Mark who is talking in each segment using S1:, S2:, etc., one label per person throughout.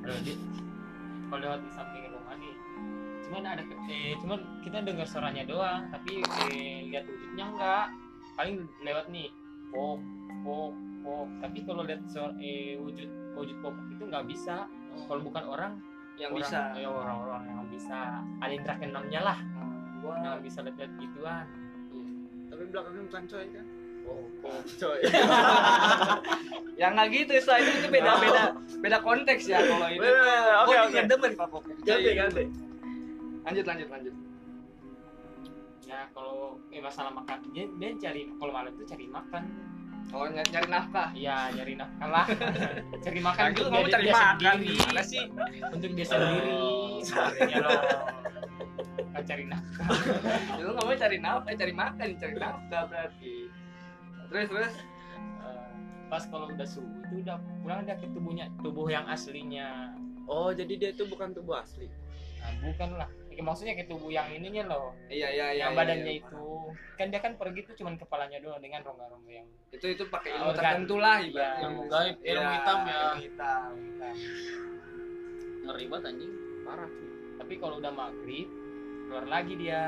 S1: Ya kalau lewat di samping rumah nih cuman ada ke- eh cuman kita dengar suaranya doang tapi eh, lihat wujudnya enggak paling lewat nih pok pok pok tapi kalau lihat suara eh, wujud wujud pok itu nggak bisa kalau bukan orang
S2: yang
S1: orang,
S2: bisa
S1: ya orang-orang yang bisa ada yang terakhir enamnya lah
S2: gua
S1: nggak bisa lihat gituan
S3: Tapi belakangnya bukan coy kan?
S1: oh, oh.
S3: Coy.
S2: ya nggak gitu Sa. itu itu beda beda beda konteks ya kalau ini
S3: Bener,
S2: Gua
S3: Oke
S2: juga
S3: oke.
S2: demen pak Pokoknya.
S3: Oh, iya, Ganti ganti.
S2: lanjut lanjut lanjut
S1: ya kalau eh, masalah makan dia, dia cari kalau malam tuh cari makan
S2: kalau nyari, nyari nafkah
S1: iya nyari nafkah lah cari makan
S2: Lagi
S1: untuk
S2: lu kamu
S1: dia-
S2: cari
S1: dia
S2: makan
S1: sendiri.
S2: gimana sih?
S1: untuk dia sendiri sebenarnya lo Nggak cari nafkah
S2: Ya, lu ngomong cari nafkah, cari makan, cari nafkah berarti. Terus terus
S1: Eh, pas kalau udah subuh itu udah pulang udah ke tubuhnya tubuh yang aslinya
S3: Oh jadi dia itu bukan tubuh asli.
S1: nah, bukan lah Ya, maksudnya ke tubuh yang ininya loh
S2: iya iya iya.
S1: yang
S2: iya,
S1: badannya
S2: iya.
S1: itu kan dia kan pergi tuh cuman kepalanya doang dengan rongga-rongga yang
S2: itu itu pakai ilmu
S1: Organ.
S2: tertentu lah ibaratnya. Iya,
S1: Yang
S3: gaib, ilmu hitam ya.
S2: Ilmu hitam.
S1: hitam.
S3: Ngeri banget anjing. Parah.
S1: tapi kalau udah maghrib keluar lagi dia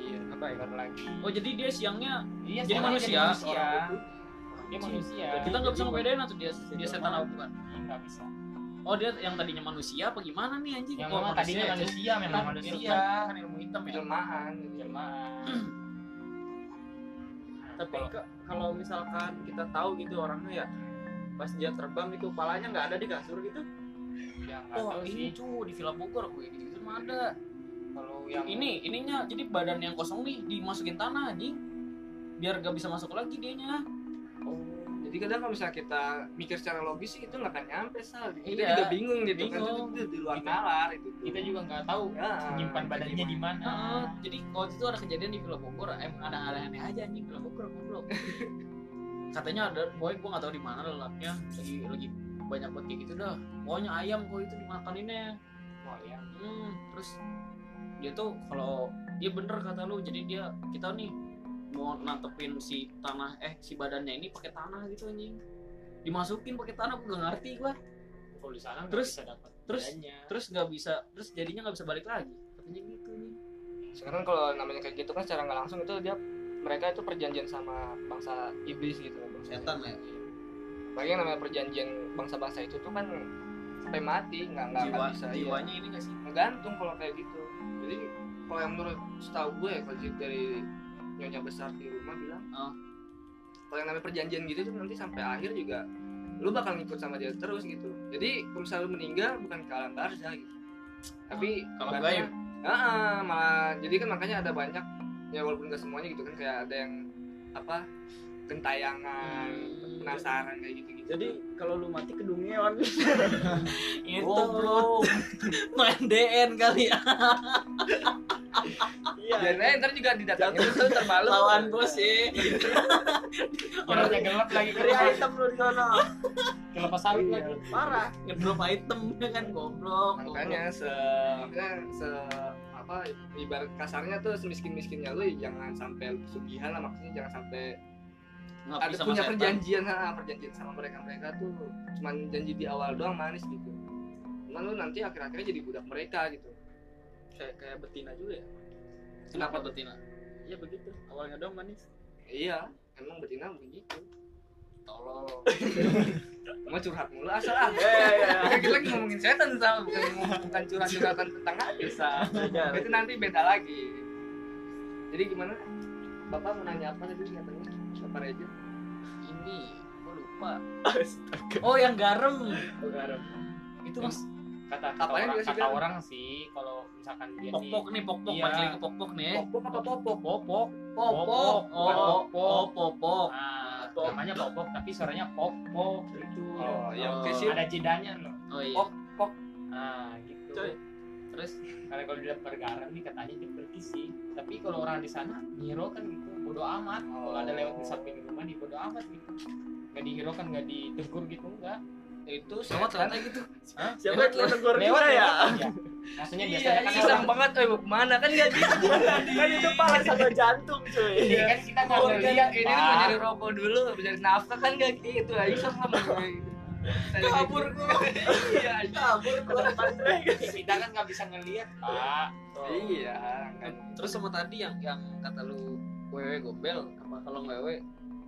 S3: Iya. Apa ya?
S1: keluar lagi
S4: Oh jadi dia siangnya
S1: Iya,
S4: Jadi
S1: sekarang
S4: manusia.
S1: manusia. Dia manusia. Iya,
S4: kita nggak bisa ngebedain atau dia dia setan apa bukan?
S1: Nggak bisa.
S4: Oh dia yang tadinya manusia apa gimana nih anjing?
S1: Yang
S4: oh,
S1: memang tadinya
S4: ya, cuy.
S1: manusia, memang
S4: Kan
S1: manusia.
S4: ilmu- Kan ilmu hitam ya.
S2: Jelmaan.
S1: Jelmaan.
S3: Tapi ke- kalau misalkan kita tahu gitu orangnya ya pas dia terbang itu palanya nggak ada di kasur gitu.
S1: yang nggak
S4: Oh
S1: tahu sih
S4: ini cuy di Villa Bogor gue gitu gitu mah ada.
S1: kalau yang
S4: Ini ininya jadi badan yang kosong nih dimasukin tanah anjing biar gak bisa masuk lagi
S1: Nah.
S4: dianya.
S2: Jadi kadang kalau misalnya kita mikir secara logis sih itu nggak akan nyampe sal. Kita
S4: Iya.
S2: juga bingung gitu kan itu,
S4: Bingung.
S2: itu di luar
S1: Kita-
S2: nalar itu. tuh.
S1: kita juga nggak tahu
S2: Ya,
S1: nyimpan badannya di mana.
S4: Heeh, jadi waktu itu ada kejadian di Villa Bogor, emang ada hal aneh aja anjing Villa Bogor goblok. Katanya ada boy gua nggak tahu di mana lelapnya lagi lagi banyak banget kayak gitu dah. Pokoknya ayam kok itu dimakaninnya.
S1: Oh ya.
S4: Hmm, terus dia tuh kalau dia bener kata lu, jadi dia kita nih mau nantepin si tanah eh si badannya ini pakai tanah gitu anjing. Dimasukin pakai tanah gua nggak ngerti gua.
S1: Kalau di sana nggak
S4: Terus-
S1: bisa dapat
S4: terus-
S1: badannya.
S4: Terus nggak bisa, terus jadinya nggak bisa balik lagi. Katanya gitu nih.
S2: Sekarang kalau namanya kayak gitu kan secara nggak langsung itu dia mereka itu perjanjian sama bangsa iblis gitu kan bangsa
S4: ya.
S2: Bagi yang namanya perjanjian bangsa-bangsa itu tuh kan sampai mati nggak nggak akan
S4: Jiwa,
S2: bisa iya.
S4: jiwanya ini nggak sih?
S2: ngegantung kalau kayak gitu jadi kalau yang menurut setahu gue ya kalau dari nyonya besar di rumah bilang
S4: Ah.
S2: kalau yang namanya perjanjian gitu tuh nanti sampai akhir juga lu bakal ngikut sama dia terus gitu jadi kalau misalnya lu meninggal bukan ke alam barzah gitu tapi
S4: Kalau
S2: ibaratnya-
S4: Oh, gaib.
S2: Heeh, malah jadi kan makanya ada banyak ya walaupun gak semuanya gitu kan kayak ada yang apa gentayangan
S4: Hmm.
S2: penasaran kayak gitu gitu
S3: Jadi kalau lu mati kedungean.
S4: Itu
S3: Goblok.
S4: main DN kali ya.
S3: Iya.
S2: biarin aja ntar juga didatangin terus terbalik
S4: Lawan gua sih.
S1: Orangnya gelap lagi
S3: Ngeri
S1: kelepas
S3: item lu di sana.
S1: kelepas sawit
S3: Iya,
S1: lagi.
S3: Parah.
S4: Ngedrop item ya kan goblok.
S2: makanya se makanya se apa ibarat kasarnya tuh semiskin miskinnya lu jangan sampai lu pesugihan lah maksudnya jangan sampai
S4: goblok. Nggak
S2: ada
S4: bisa
S2: punya
S4: sama setan.
S2: perjanjian ha, perjanjian sama mereka mereka tuh cuman janji di awal doang manis gitu cuman lu nanti akhir akhirnya jadi budak mereka gitu
S3: Kayak kayak betina juga ya.
S4: Kenapa tuh Tina?
S3: Iya begitu. Awalnya doang manis.
S2: iya emang betina begitu
S4: Tolong.
S2: mau curhat mulu asal ah
S3: Iya
S2: kita lagi ngomongin setan sama bukan bukan curhat curhatan tentang hati sama
S3: iya.
S2: itu nanti beda lagi jadi gimana bapak mau nanya apa tadi katanya bapak Reja Eh?
S4: ini gue lupa oh yang garam itu mas
S1: Kata kata
S2: Apanya
S1: orang,
S2: dia sih,
S1: kata
S2: Bang?
S1: orang sih kalau misalkan dia nih
S4: pokpok nih pokpok
S1: Iya.
S4: balik lagi ke pokpok nih
S2: Eh?
S3: Popok apa popok?
S1: popok
S4: popok
S1: bukan
S4: oh oh
S1: popok.
S4: popok
S1: Nah,
S3: Pop.
S1: namanya popok tapi suaranya popok gitu.
S2: oh ya oke
S4: Oh.
S2: sih
S1: Ada jedanya loh.
S4: oh iya
S2: Pok, pok.
S1: Nah, gitu.
S3: Coy.
S4: terus
S1: Karena kalau dia bergaram nih katanya dia pergi sih. Tapi kalau orang di sana ngiro kan gitu bodo amat. Kalau ada lewat
S2: Oh.
S1: di samping rumah nih bodo amat gitu. Gak dihiro kan gak ditegur gitu enggak.
S2: itu
S4: sama ternyata gitu
S3: Siapa yang tegur kita ya?
S1: ya. Maksudnya biasanya
S2: iya
S1: kan
S2: iseng
S1: orang-
S2: banget eh mau kemana kan nggak gitu
S3: Kan itu
S2: Iya,
S3: pala sama jantung cuy.
S1: Iya kan kita nggak
S2: Kan
S1: ngeliat
S2: ini
S1: Pak.
S2: mau nyari rokok dulu mau nyari nafkah kan nggak gitu aja sama gitu
S4: Kabur gua.
S2: iya
S4: kabur gua.
S1: kita kan nggak bisa ngelihat pak
S2: iya kan
S4: terus sama tadi yang yang kata lu wewe gombel apa kalau wewe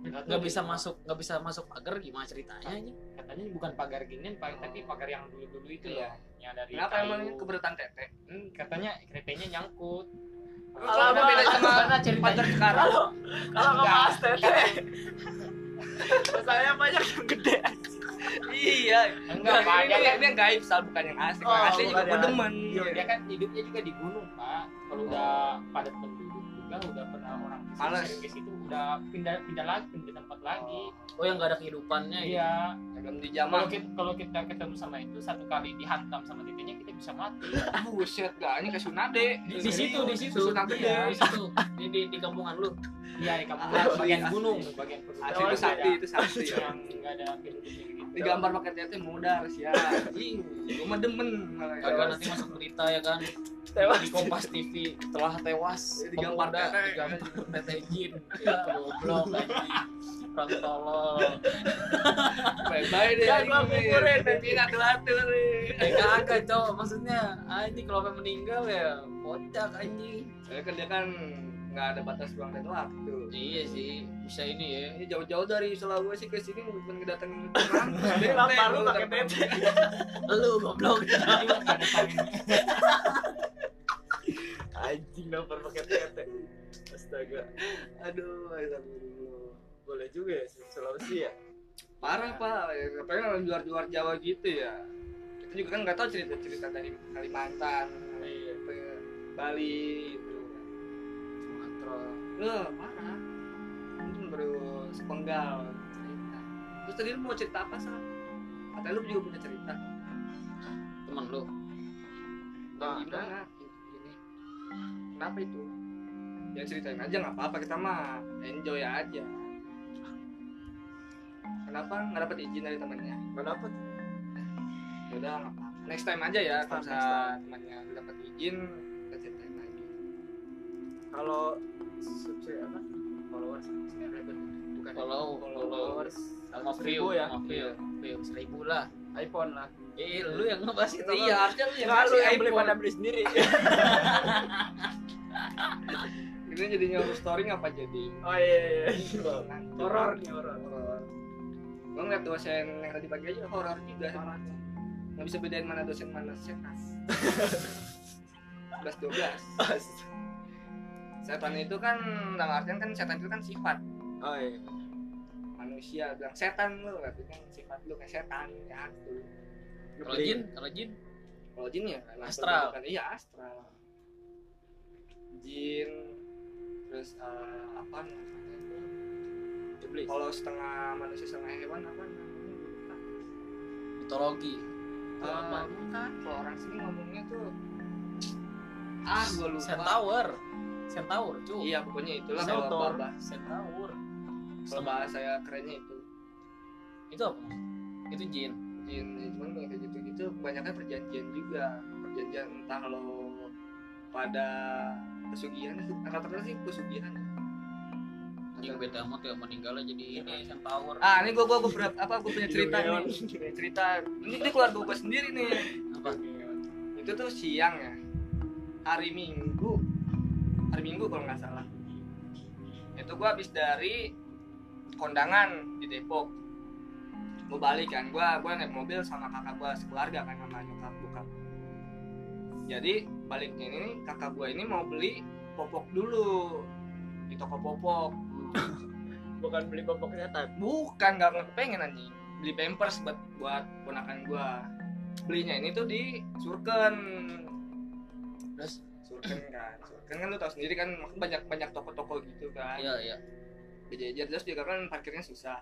S4: nggak bisa masuk nggak bisa masuk pagar gimana ceritanya aja
S1: katanya bukan pagar ginian pak tapi pagar yang dulu dulu itu
S2: Oh. Iya.
S1: ya yang dari
S2: kenapa
S1: kayu.
S2: emang keberatan tete
S1: Hmm, katanya keretanya nyangkut
S3: Alamak.
S2: Kenapa beda sama pagar sekarang
S3: kalau kalau nggak
S1: Enggak.
S3: bahas tete saya banyak yang gede
S2: iya
S1: enggak
S2: enggak
S1: pak
S2: ini
S1: dia kan
S2: ini yang gaib sal bukan yang asli
S3: Oh,
S2: yang asli juga
S3: bukan
S2: gue
S3: yang
S2: demen
S1: dia kan hidupnya juga di gunung pak kalau udah padat penduduk juga udah pernah orang kesini,
S2: Males.
S1: sering ke situ udah pindah pindah lagi pindah tempat lagi
S4: oh yang nggak ada kehidupannya gitu.
S1: iya
S2: dalam di
S1: kalau
S2: zaman
S1: kita kalau kita ketemu sama itu satu kali dihantam sama titinya kita bisa mati
S2: buset gak ini kayak sunade
S1: Di- di situ, di situ.
S2: sunade
S1: Iya.
S4: di situ di, di, di kampungan lu
S1: iya di kampung
S2: Asli,
S1: bagian
S2: asli.
S1: gunung bagian perbukitan.
S2: asli Ah, itu
S1: Nggak
S2: sakti
S1: ada-
S2: itu sakti ya
S1: yang nggak ada penduduknya gitu
S2: digambar pakai tete modal sih ya anjing gue mah demen malah ya.
S4: kagak nanti masuk berita ya kan
S3: Tewas.
S4: di Kompas TV telah tewas
S2: Jadi digampar
S4: pemuda
S2: tete.
S4: digampar tete jin ya goblok anjing orang tolol
S2: bye bye deh
S3: Ya, gua kuburin.
S2: nanti atur atur
S4: ya kagak cowok maksudnya anjing kalau sampai meninggal ya kocak anjing
S2: saya kan dia kan nggak ada batas ruang dan waktu
S4: iya sih bisa ini ya
S2: ini jauh-jauh dari Sulawesi ke sini bukan kedatangan
S3: Lapar lu pakai tete.
S4: lu goblok
S3: anjing lapar pakai tete astaga
S2: aduh astagfirullah.
S3: boleh juga ya Sulawesi ya
S2: parah pak apalagi orang luar-luar Jawa gitu ya kita juga kan nggak tahu cerita-cerita dari Kalimantan apa ya, Bali gitu Eh, parah itu baru sepenggal cerita terus tadi lu mau cerita apa sih katanya lu juga punya cerita
S4: temen lu
S3: Nah,
S2: gimana ini kenapa itu ya ceritain aja nggak apa-apa kita mah enjoy aja kenapa nggak dapat izin dari temennya
S3: nggak dapet
S2: ya udah nggak apa-apa next time aja ya
S3: Next time,
S2: kalau
S3: next time.
S2: misalnya temannya udah dapat izin kita ceritain lagi
S3: kalau subscribe apa followers subscriber bukan
S4: follow follow
S3: followers
S4: sama
S3: 100.000
S4: view
S3: ya
S4: sama view view seribu lah
S3: iPhone lah
S4: eh lu yang ngebahas itu
S2: iya harusnya lu yang
S3: Nggak, lu
S2: kasih
S3: yang beli
S2: iPhone
S3: pada beli sendiri
S2: ini jadi nyuruh story apa jadi
S3: oh iya iya horor nih horor
S2: horor gua ngeliat dosen yang tadi pagi aja horor juga nggak bisa bedain mana dosen mana
S3: Nah.
S2: sekas 11 12 setan itu kan dalam artian kan setan itu kan sifat
S3: oh iya
S2: manusia bilang setan lu berarti kan sifat lu kayak setan ya aku
S4: kalau jin kalau jin
S2: kalau jin ya emang
S4: Astral.
S2: perbudakan. iya astral jin terus eh, apa namanya itu?
S3: iblis
S2: kalau setengah manusia setengah hewan apa namanya Lupa.
S4: mitologi Itu
S2: Eh,
S4: apa?
S2: bukan kalau orang sini ngomongnya tuh ah gua lupa
S4: centaur centaur cu
S2: iya pokoknya itulah
S3: Seutor.
S2: kalau bah-
S4: centaur
S2: kalau bahasa saya kerennya itu
S4: itu apa itu jin
S2: jin ya, cuman kalau kayak gitu-gitu kebanyakan perjanjian juga perjanjian entah kalau pada pesugihan rata-rata sih pesugihan ya.
S4: yang
S2: Rata-rata.
S4: beda amat ya meninggalnya jadi ini centaur
S2: ah ini gue gue gue berat apa gue punya cerita
S3: Gila,
S2: nih Punya cerita ini, ini keluarga gue sendiri nih
S4: apa
S2: itu tuh siang ya hari minggu hari minggu kalau nggak salah itu gue habis dari kondangan di Depok mau balik kan gue gue naik mobil sama kakak gue sekeluarga kan sama nyokap bokap jadi baliknya ini nih, kakak gue ini mau beli popok dulu di toko popok
S3: bukan beli popok setan
S2: bukan nggak kepengen anjing beli pampers buat buat ponakan gua belinya ini tuh di Surken
S4: terus
S2: Surken kan Surken kan lu tau sendiri kan banyak banyak toko-toko gitu kan
S4: iya iya
S2: dijejer terus juga kan parkirnya susah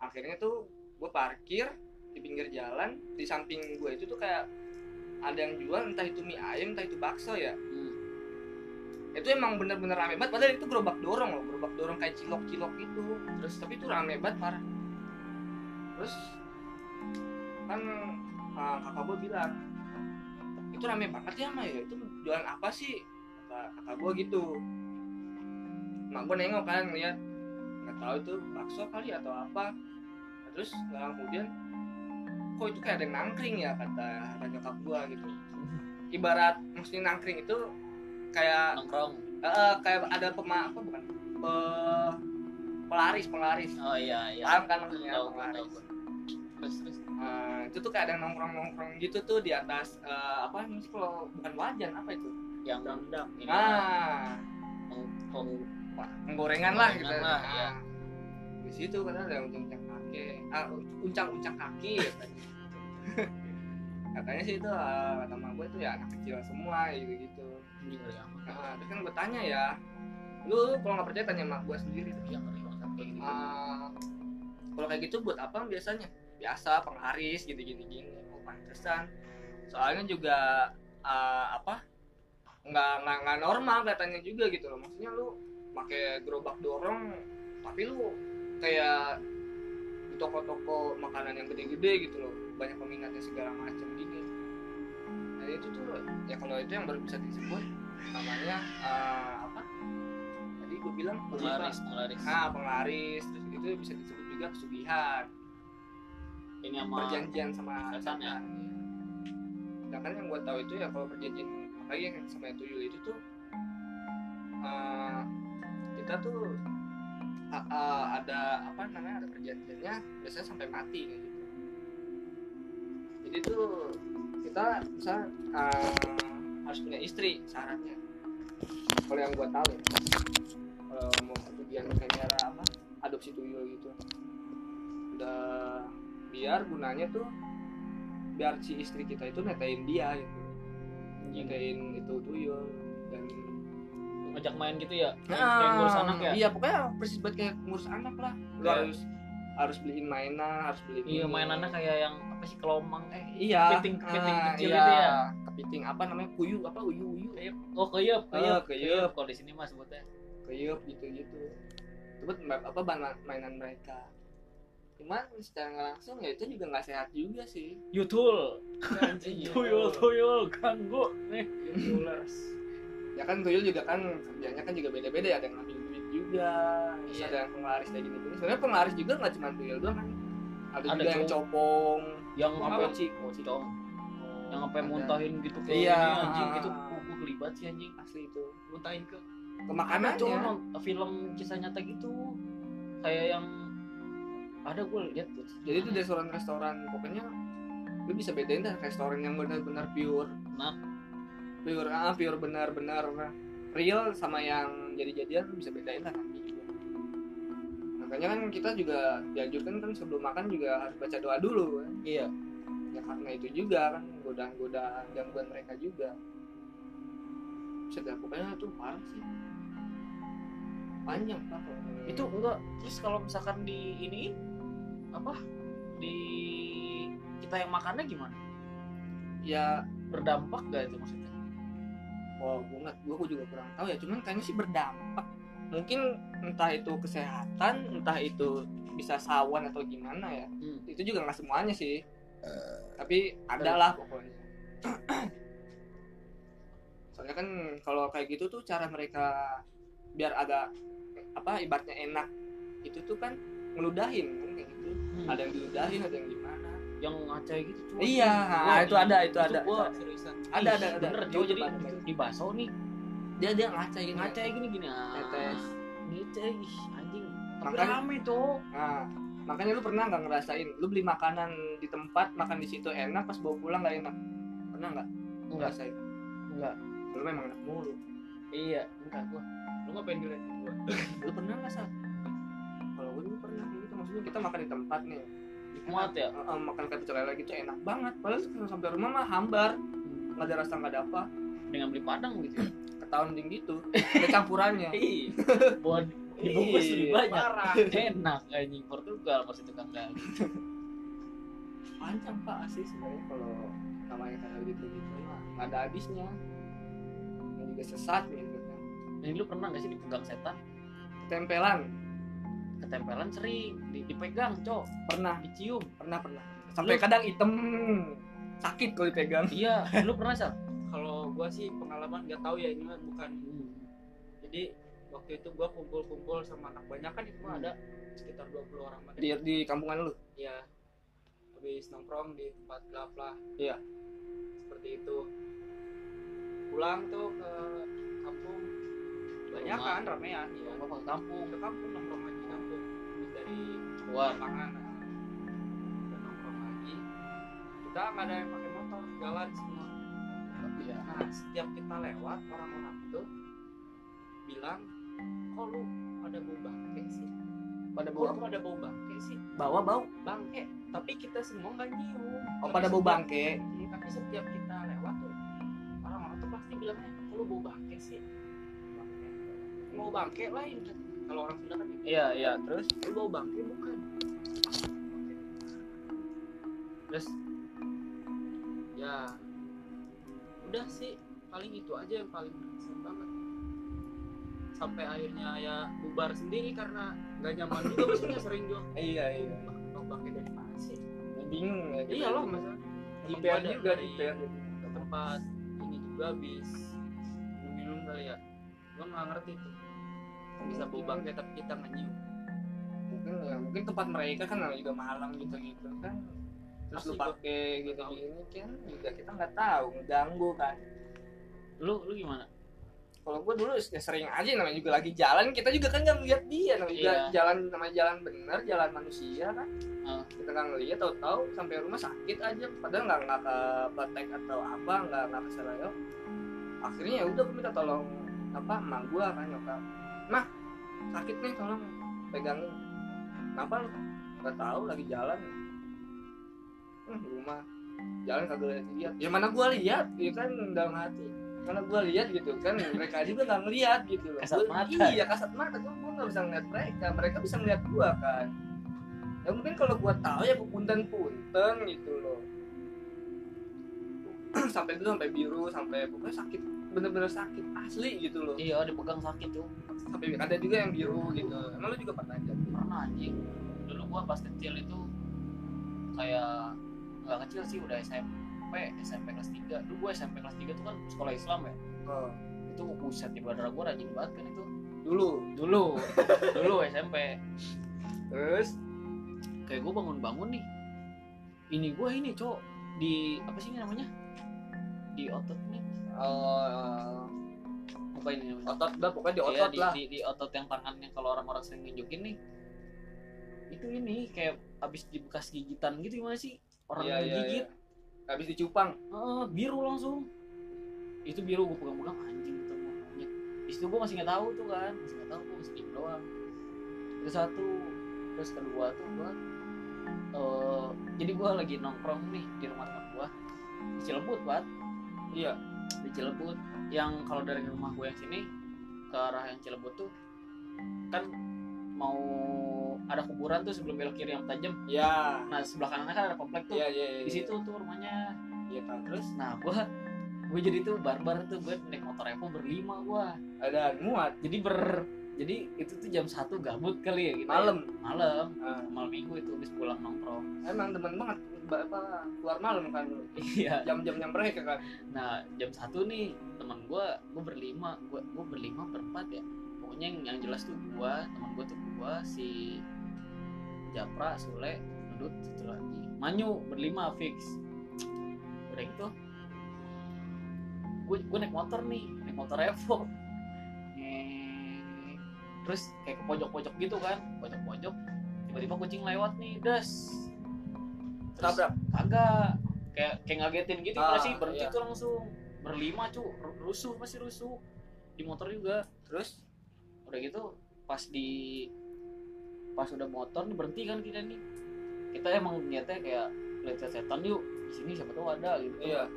S2: akhirnya tuh gue parkir di pinggir jalan di samping gue itu tuh kayak ada yang jual entah itu mie ayam entah itu bakso ya
S4: Hmm.
S2: itu emang bener-bener rame banget padahal itu gerobak dorong loh gerobak dorong kayak cilok-cilok gitu terus tapi itu rame banget parah terus kan ah, kakak gue bilang itu rame banget ya Maya itu jualan apa sih kata kakak gue gitu mak gue nengok kan lihat nggak tahu itu bakso kali atau apa Nah, terus nah, kemudian kok itu kayak ada yang nangkring ya kata kata nyokap gua gitu ibarat maksudnya nangkring itu kayak
S4: nongkrong
S2: eh, eh, kayak ada pema apa bukan Pe- pelaris pelaris
S4: oh iya iya
S2: paham kan
S4: Tahu,
S2: maksudnya
S4: tahu
S2: pelaris
S4: tahu. terus terus
S2: Eh, itu tuh kayak ada nongkrong nongkrong gitu tuh di atas eh, apa sih kalau bukan wajan apa itu
S4: yang Ah.
S3: dangdang
S4: ini
S2: nah
S4: peng- peng-
S2: Wah, penggorengan lah gitu.
S4: Penggorengan lah,
S2: Nah,
S4: iya.
S2: Di situ kan ada uncang-uncang kaki, ah, uncang-uncang kaki katanya. katanya sih itu ah, kata mak gue tuh ya anak kecil semua gitu gitu.
S4: anjing ngeri amat
S2: Nah, terus kan bertanya ya, lu kalau nggak percaya tanya mak gue sendiri.
S4: yang ngeri banget kayak gitu
S2: Ah, kalau kayak gitu buat apa biasanya? Biasa pengharis gitu gini gini. Oh pantesan. Soalnya juga ah, apa? Nggak, nggak nggak normal katanya juga gitu loh. Maksudnya lu pakai gerobak dorong, tapi lu kayak di toko-toko makanan yang gede-gede gitu loh. Banyak peminatnya segala macam gini. Nah itu tuh ya kalau itu yang baru bisa disebut namanya ah, apa? Tadi gue bilang apa?
S4: penglaris penglaris
S2: Nah, penglaris terus itu bisa disebut juga pesugihan,
S4: ini sama
S2: perjanjian sama
S4: setan ya?
S2: setan. Sedangkan Iya. yang gue tahu itu ya kalau perjanjian apalagi yang sama yang tuyul itu tuh eh, kita tuh a- a- ada apa namanya ada perjanjiannya biasanya sampai mati kayak gitu. Jadi tuh kita bisa eh, harus punya istri syaratnya. Kalau yang gue tahu ya. Kalau mau perjanjian kayak cara apa adopsi tuyul gitu. Udah biar gunanya tuh biar si istri kita itu netain dia gitu netain itu tuyul dan
S4: ngajak main gitu ya kayak ngurus anak ya
S2: iya pokoknya persis banget kayak ngurus anak lah lu
S4: Kayak-
S2: harus harus beliin mainan harus beliin
S4: iya
S2: ini.
S4: mainannya kayak yang apa sih kelomang eh
S2: iya
S4: kepiting- kepiting
S2: ah,
S4: kecil
S2: iya.
S4: gitu ya?
S2: kepiting apa namanya kuyu apa uyu uyu
S4: oh keyep
S2: Ah,
S4: keyep
S2: keyep.
S4: kalau di sini mas sebutnya
S2: kuyup gitu gitu sebut apa bahan mainan mereka cuman secara nggak langsung ya itu juga nggak sehat juga sih
S4: yutul
S2: Iya.
S4: tuyul tuyul ganggu nih
S3: Ular.
S2: ya kan tuyul juga kan kerjanya kan juga beda-beda ya ada yang ngambil duit juga terus
S4: Iya.
S2: ada yang penglaris kayak gini gini sebenarnya penglaris juga nggak cuma tuyul doang kan ada,
S4: Ada
S2: juga yang
S4: cowok.
S2: copong
S4: yang
S2: apa
S4: apa
S2: sih
S4: dong yang sampai
S2: Ada.
S4: muntahin gitu ke
S2: Iya.
S4: ini anjing gitu kuku kelibat sih anjing
S2: asli itu
S4: muntahin ke
S2: kemakanannya
S4: Ada cowok nonton film kisah nyata gitu kayak yang ada gue lihat tuh
S2: jadi itu restoran restoran pokoknya lu bisa bedain dah restoran yang benar-benar pure
S4: Nah.
S2: pure ah pure benar-benar real sama yang jadi-jadian lu bisa bedain lah nanti juga. makanya kan kita juga dianjurkan kan sebelum makan juga harus baca doa dulu kan
S4: iya
S2: ya karena itu juga kan godaan-godaan gangguan mereka juga sudah pokoknya itu parah sih panjang pak
S4: itu enggak terus kalau misalkan di ini apa di kita yang makannya gimana
S2: ya
S4: berdampak gak itu maksudnya
S2: oh gue nggak gue juga kurang tahu ya cuman kayaknya sih berdampak mungkin entah itu kesehatan entah itu bisa sawan atau gimana ya
S4: Hmm.
S2: itu juga nggak semuanya sih tapi ada lah pokoknya soalnya kan kalau kayak gitu tuh cara mereka biar agak apa ibaratnya enak itu tuh kan meludahin kan kayak gitu
S4: Hmm.
S2: ada yang diludahin ada yang gimana
S4: yang ngacai gitu cuy
S2: Iya, nah, itu ada, itu ada, itu
S4: gua
S2: ada.
S4: seriusan
S2: Ada, ada,
S4: Ih,
S2: ada.
S4: bener
S2: Itu
S4: cuy jadi
S2: ada, ada.
S4: di baso nih
S2: dia dia ngaca gitu
S4: ngacai gini gini ah
S2: Tetes.
S4: ngacai ih anjing tapi
S2: Makanya-
S4: rame tuh
S2: nah makanya lu pernah nggak ngerasain lu beli makanan di tempat makan di situ enak pas bawa pulang nggak enak pernah nggak ngerasain
S4: enggak
S2: lu memang enak mulu
S4: iya enggak gua
S3: lu nggak pengen dilihat gua
S2: lu pernah nggak sih kalau gue dulu pernah kayak gitu maksudnya kita makan di tempat nih
S4: muat ya
S2: Eh, eh, makan kata celana lagi tuh enak banget padahal tuh sampai rumah mah hambar
S4: Hmm.
S2: nggak ada rasa nggak ada apa
S4: dengan beli padang gitu ya
S2: ketahuan ding gitu ada campurannya
S4: Ih, buat dibungkus lebih
S2: Iya,
S4: banyak
S3: parah
S4: enak anjing Portugal kan, pasti tukang dagang
S2: panjang pak asli sebenarnya kalau namanya kata gitu gitu mah nggak ada habisnya dan juga sesat gitu kan
S4: Nah, ini lu pernah gak sih dipegang setan
S2: tempelan
S4: ketempelan sering di- dipegang cok
S2: pernah
S4: dicium
S2: pernah pernah sampai
S4: Lu-
S2: kadang item sakit kalau dipegang
S4: iya lu pernah sih
S3: kalau gua sih pengalaman nggak tahu ya ini mah bukan
S4: Hmm,
S3: jadi waktu itu gua kumpul-kumpul
S2: Iya.
S3: sama anak banyak kan itu mah ada sekitar 20 orang mah
S2: di di kampungan lu
S3: ya habis habis nongkrong di tempat gelap lah
S1: Iya.
S3: seperti itu pulang tuh ke kampung banyak kan ramean
S4: Iya,
S3: ya
S4: gua ke kampung
S3: ke kampung nongkrong lagi di kampung Habis dari
S4: keluar
S3: lapangan udah nongkrong lagi kita nggak ada yang pakai motor jalan semua
S4: iya
S3: Nah, setiap kita lewat orang-orang tuh bilang, kok lu pada bau bangke sih?
S4: pada
S3: Kok
S4: bau
S3: lu pada bau bangke sih?
S4: bawa bau
S3: Bangke. Tapi kita semua nggak nyium.
S4: oh
S3: Tapi
S4: pada bau
S3: setiap-
S4: bangke
S3: Hmm, Tapi setiap kita lewat tuh, orang-orang tuh pasti bilangnya, kok lu bau bangke sih? Bangke. Mau bangke lain. Kalau orang Sunda kan gitu.
S1: iya iya terus
S3: Lu bau bangke bukan?
S1: terus
S3: Ya, udah sih paling itu aja yang paling berkesan banget sampai akhirnya ya bubar sendiri karena nggak nyaman juga maksudnya sering juga
S2: iya iya
S3: ombaknya dari mana sih
S2: bingung ya
S3: iya loh masalah
S2: IPR
S3: Ada
S2: juga
S3: dari-
S2: IPR
S3: ke tempat ini juga habis minum kali ya gua nggak ngerti tuh bisa bau bangkai tapi kita nggak nyium
S2: mungkin ya mungkin tempat mereka kan juga malam gitu gitu kan terus lu
S3: Pasti gua-
S2: pakai gitu gini kan juga kita nggak tahu ganggu kan
S4: lu lu gimana
S2: kalau gue dulu ya sering aja namanya juga lagi jalan kita juga kan nggak ngeliat dia namanya juga
S4: Iya.
S2: jalan namanya jalan bener jalan manusia kan
S4: Ah.
S2: kita nggak ngeliat tahu-tahu sampai rumah sakit aja padahal nggak nggak ke praktek atau apa nggak nggak ke seleo. akhirnya ya udah gue minta tolong apa emak gue kan nyokap mah sakit nih tolong pegangin kenapa lu nggak tahu lagi jalan hmm, rumah jalan kagak lihat lihat ya mana gue lihat ya kan dalam hati mana gue lihat gitu kan mereka juga nggak ngeliat gitu loh
S4: Kasat
S2: Gua-
S4: mata.
S2: iya kasat mata gue gue nggak bisa ngeliat mereka mereka bisa ngeliat gue kan ya mungkin kalau gue tahu ya gue punten punten gitu loh sampai itu sampai biru sampai pokoknya sakit bener-bener sakit asli gitu loh
S4: iya dipegang sakit tuh
S2: sampai ada juga yang biru gitu emang lu juga pernah jatuh
S4: pernah anjing dulu gua pas kecil itu kayak nggak kecil sih udah SMP SMP kelas 3 dulu gua SMP kelas 3 tuh kan sekolah Islam ya
S2: oh,
S4: itu buset di bandara gua rajin banget kan itu
S2: dulu
S4: dulu dulu SMP
S2: terus
S4: kayak gua bangun-bangun nih ini gua ini cowok di apa sih ini namanya di otot nih
S2: eh,
S4: apa ini namanya
S2: otot lah pokoknya di
S4: Iya,
S2: otot
S4: di,
S2: lah
S4: di, di otot yang tangannya kalau orang-orang sering nunjukin nih itu ini kayak abis di bekas gigitan gitu gimana sih orang
S2: Iya,
S4: yang
S2: iya,
S4: digigit
S2: iya. habis dicupang
S4: Ah, biru langsung itu biru gue pegang-pegang anjing itu gua monyet di situ gue masih nggak tahu tuh kan masih nggak tahu gue masih diem doang itu satu terus kedua tuh gue eh jadi gue lagi nongkrong nih di rumah teman gue di Cilebut buat
S2: Iya.
S4: di Cilebut yang kalau dari rumah gue yang sini ke arah yang Cilebut tuh kan mau ada kuburan tuh sebelum belok kiri yang tajam
S2: ya
S4: nah sebelah kanannya kan ada komplek tuh
S2: iya iya iya
S4: di situ tuh rumahnya
S2: iya tahu terus
S4: Nah, gua gue jadi tuh barbar tuh gue naik motor Evo berlima gua.
S2: ada muat
S4: Jadi ber jadi itu tuh jam satu gabut kali ya gitu.
S2: malam
S4: Malam.
S2: Ah.
S4: Malam Minggu itu habis pulang nongkrong.
S2: emang temen banget ba- apa keluar malam kan
S4: Iya.
S2: jam-jamnya mereka kan
S4: Nah, jam satu nih teman gua, gua berlima, gua gua berlima berempat ya. Pokoknya yang, yang jelas tuh gua, teman gua tuh gua si Japra, Sule, Dudut, satu lagi. Manyu berlima fix. Udah itu gue gue naik motor nih naik motor Evo Nih. terus kayak ke pojok-pojok gitu kan pojok-pojok tiba-tiba kucing lewat nih das Terus-
S2: tabrak
S4: kagak kayak kayak ngagetin gitu
S2: Ah,
S4: ah, sih berhenti
S2: iya.
S4: tuh langsung berlima cu Ru- rusuh masih rusuh di motor juga
S2: terus
S4: udah gitu pas di pas udah motor nih berhenti kan kita nih kita emang niatnya kayak lihat setan yuk di sini siapa tahu ada gitu
S2: iya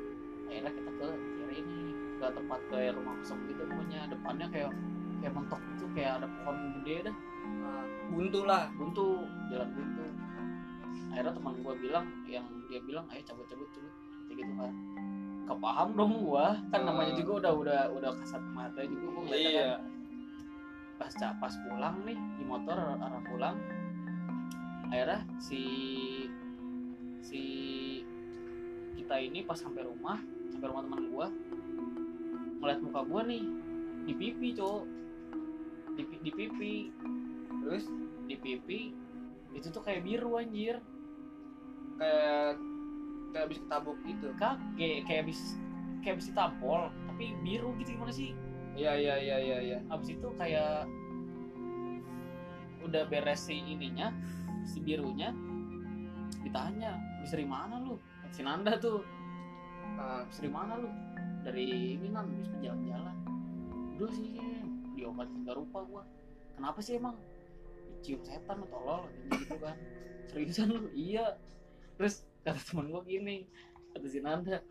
S4: akhirnya kita ke kiri ini ke tempat kayak rumah kosong gitu pokoknya depannya kayak kayak mentok gitu kayak ada pohon gede dah
S2: ah, buntu lah
S4: buntu jalan buntu akhirnya teman gue bilang yang dia bilang ayo cabut cabut cabut kayak gitu kan gak paham dong gue kan namanya
S2: Ah.
S4: juga udah udah udah kasat mata juga gue ngeliatnya kan pas ca- pas pulang nih di motor ar- arah pulang akhirnya si si kita ini pas sampai rumah sampai rumah teman gua ngeliat muka gua nih di pipi cowok di, pi- di pipi
S2: terus
S4: di pipi itu tuh kayak biru anjir
S2: kayak kayak habis ketabuk gitu
S4: kaget kayak abis kayak abis ditampol tapi biru gitu gimana sih
S2: iya iya iya iya iya
S4: abis itu kayak udah beres si ininya si birunya ditanya abis dari mana lu si Nanda tuh
S2: Ah,
S4: abis dari mana lu dari ini nan abis jalan-jalan udah sih diobatin gak rupa gua kenapa sih emang cium setan lu tolol katanya gitu kan seriusan lu iya terus kata teman gua gini kata si Nanda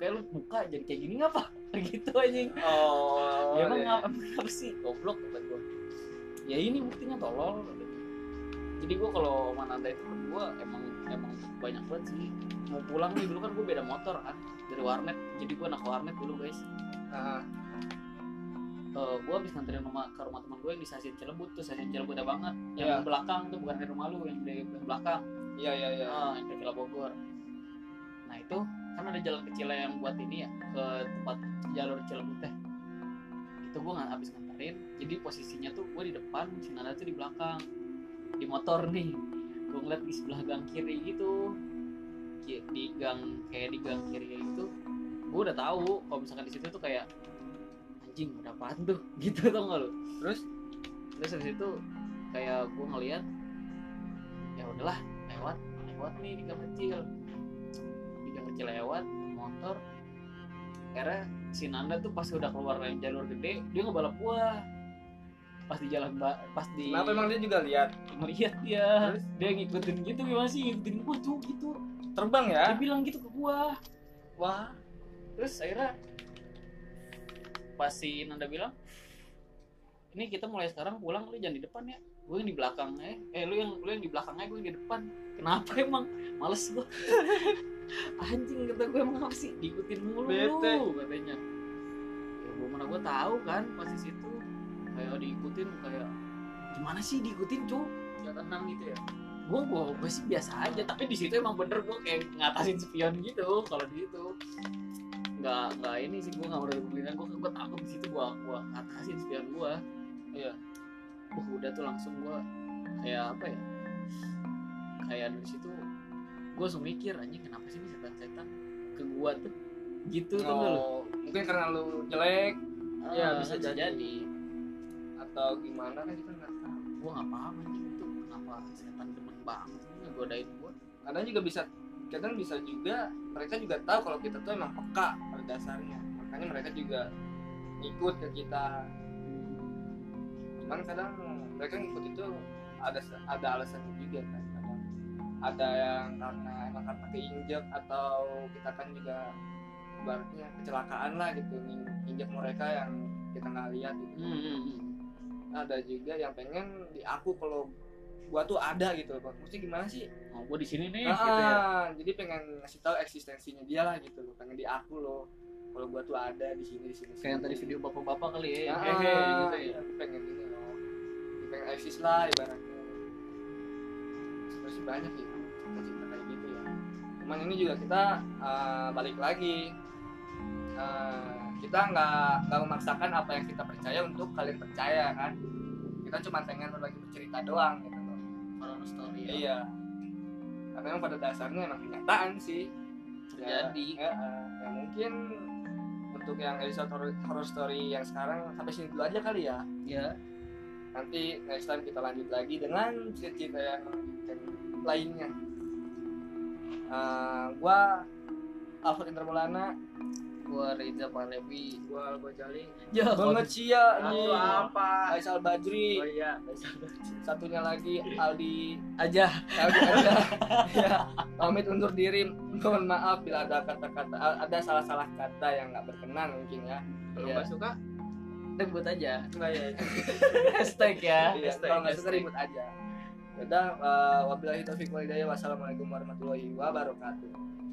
S4: kayak lu muka jadi kayak gini ngapa gitu anjing
S2: oh
S4: ya emang
S2: iya.
S4: ngap- emang apa sih goblok kata gue ya ini buktinya tolol kata gua. jadi gue kalau sama Nanda itu gue emang emang banyak banget sih mau pulang nih dulu kan gue beda motor kan dari warnet jadi gue anak warnet dulu guys
S2: Ah,
S4: Eh gue habis nganterin rumah ke rumah teman gue yang di stasiun Cilebut tuh stasiun Cilebut ada banget yang
S2: Iya.
S4: belakang tuh bukan dari rumah lu yang dari yang belakang
S2: iya iya iya
S4: Ah, yang ke Villa Bogor. Nah itu kan ada jalan kecil yang buat ini ya ke tempat jalur Cilebut teh. Itu gue nggak habis nganterin. Jadi posisinya tuh gue di depan, si Nanda tuh di belakang, di motor nih. Gue ngeliat di sebelah gang kiri gitu, Ki- di gang kayak di gang kiri itu, gue udah tahu kalau misalkan di situ tuh kayak anjing ada apaan tuh gitu tau gak lu terus terus habis itu kayak gue ngeliat ya udahlah lewat lewat nih di gang kecil di gang kecil lewat motor akhirnya si Nanda tuh pas udah keluar dari jalur gede dia ngebalap gua pas di jalan ba- pas di
S2: kenapa emang dia juga lihat
S4: ngeliat dia
S2: Terus?
S4: dia ngikutin gitu gimana sih ngikutin gua tuh gitu
S2: terbang ya
S4: dia bilang gitu ke gua
S2: wah
S4: terus akhirnya pas si Nanda bilang ini kita mulai sekarang pulang lu jangan di depan ya gue yang di belakang eh eh lu yang lu yang di belakangnya gue yang di depan kenapa emang males gue anjing kata gue emang apa sih diikutin mulu
S2: Bete.
S4: lu katanya ya gue mana gue tahu kan pas di situ kayak oh, diikutin kayak gimana sih diikutin cu
S1: nggak tenang gitu ya
S4: gue gue gue sih biasa aja tapi di situ emang bener gue kayak ngatasin spion gitu kalau di situ nggak nggak ini sih gue nggak berani berlian gue gue takut di situ gue gue ngatasin spion gue
S2: Iya.
S4: Wah, udah tuh langsung gue kayak apa ya kayak dari situ gue langsung mikir anjing kenapa sih ini setan-setan ke gue tuh gitu tuh Ah, lo
S2: oh, mungkin karena lu jelek
S1: ya, bisa jadi.
S2: atau gimana kan kita nggak tahu
S4: gue nggak paham anjing itu kenapa setan demen banget ngegodain gue
S2: kadang juga bisa kadang bisa juga mereka juga tahu kalau kita tuh emang peka pada dasarnya makanya mereka juga ikut ke kita cuman kadang mereka ngikut itu ada ada alasannya juga kan kadang ada yang karena emang karena keinjak atau kita kan juga ibaratnya kecelakaan lah gitu ngin- injak mereka yang kita nggak lihat gitu
S4: Hmm, hmm, hmm.
S2: ada juga yang pengen diaku kalau gua tuh ada gitu maksudnya gimana sih
S4: oh, gue di sini nih
S2: Ah,
S4: gitu ya
S2: jadi pengen ngasih tahu eksistensinya dia lah gitu loh pengen diaku loh kalau gua tuh ada di sini di sini
S4: kayak yang
S2: sini.
S4: tadi video bapak-bapak kali ya
S2: ah,
S4: yang hehe gitu ya
S2: iya, gua pengen ini loh Gua pengen eksis lah ibaratnya masih banyak sih cita-cita kayak gitu ya cuman ini juga kita ah, balik lagi Ah, kita nggak nggak memaksakan apa yang kita percaya untuk kalian percaya kan kita cuma pengen berbagi cerita doang gitu loh
S3: horror story ya.
S2: Iya. Karena emang pada dasarnya emang kenyataan sih.
S3: terjadi
S2: Ya, ya, eh, ya mungkin untuk yang episode horror, horror story yang sekarang sampai sini dulu aja kali ya.
S3: ya
S2: Nanti next time kita lanjut lagi dengan cerita-cerita yang yang lainnya. Eh, gua Alfred Indra Maulana,
S3: gua Reza Palevi
S1: gua gua jali
S3: ya
S2: Bang Cia,
S1: Oh, Aduh, apa
S2: Faisal Badri,
S1: oh iya
S2: satunya lagi Aldi
S3: aja
S2: Aldi Arda. ya, pamit undur diri. Mohon maaf bila ada kata-kata ada salah-salah kata yang nggak berkenan mungkin ya.
S1: kalau
S3: Iya.
S1: nggak suka
S3: debut aja
S2: Enggak ya.
S3: hashtag ya
S2: Iya,
S1: Ah, Hashtag,
S2: kalau nggak suka
S1: hashtag.
S2: ribut aja. Udah, eh, wabillahi taufiq walhidayah. Wassalamualaikum warahmatullahi wabarakatuh.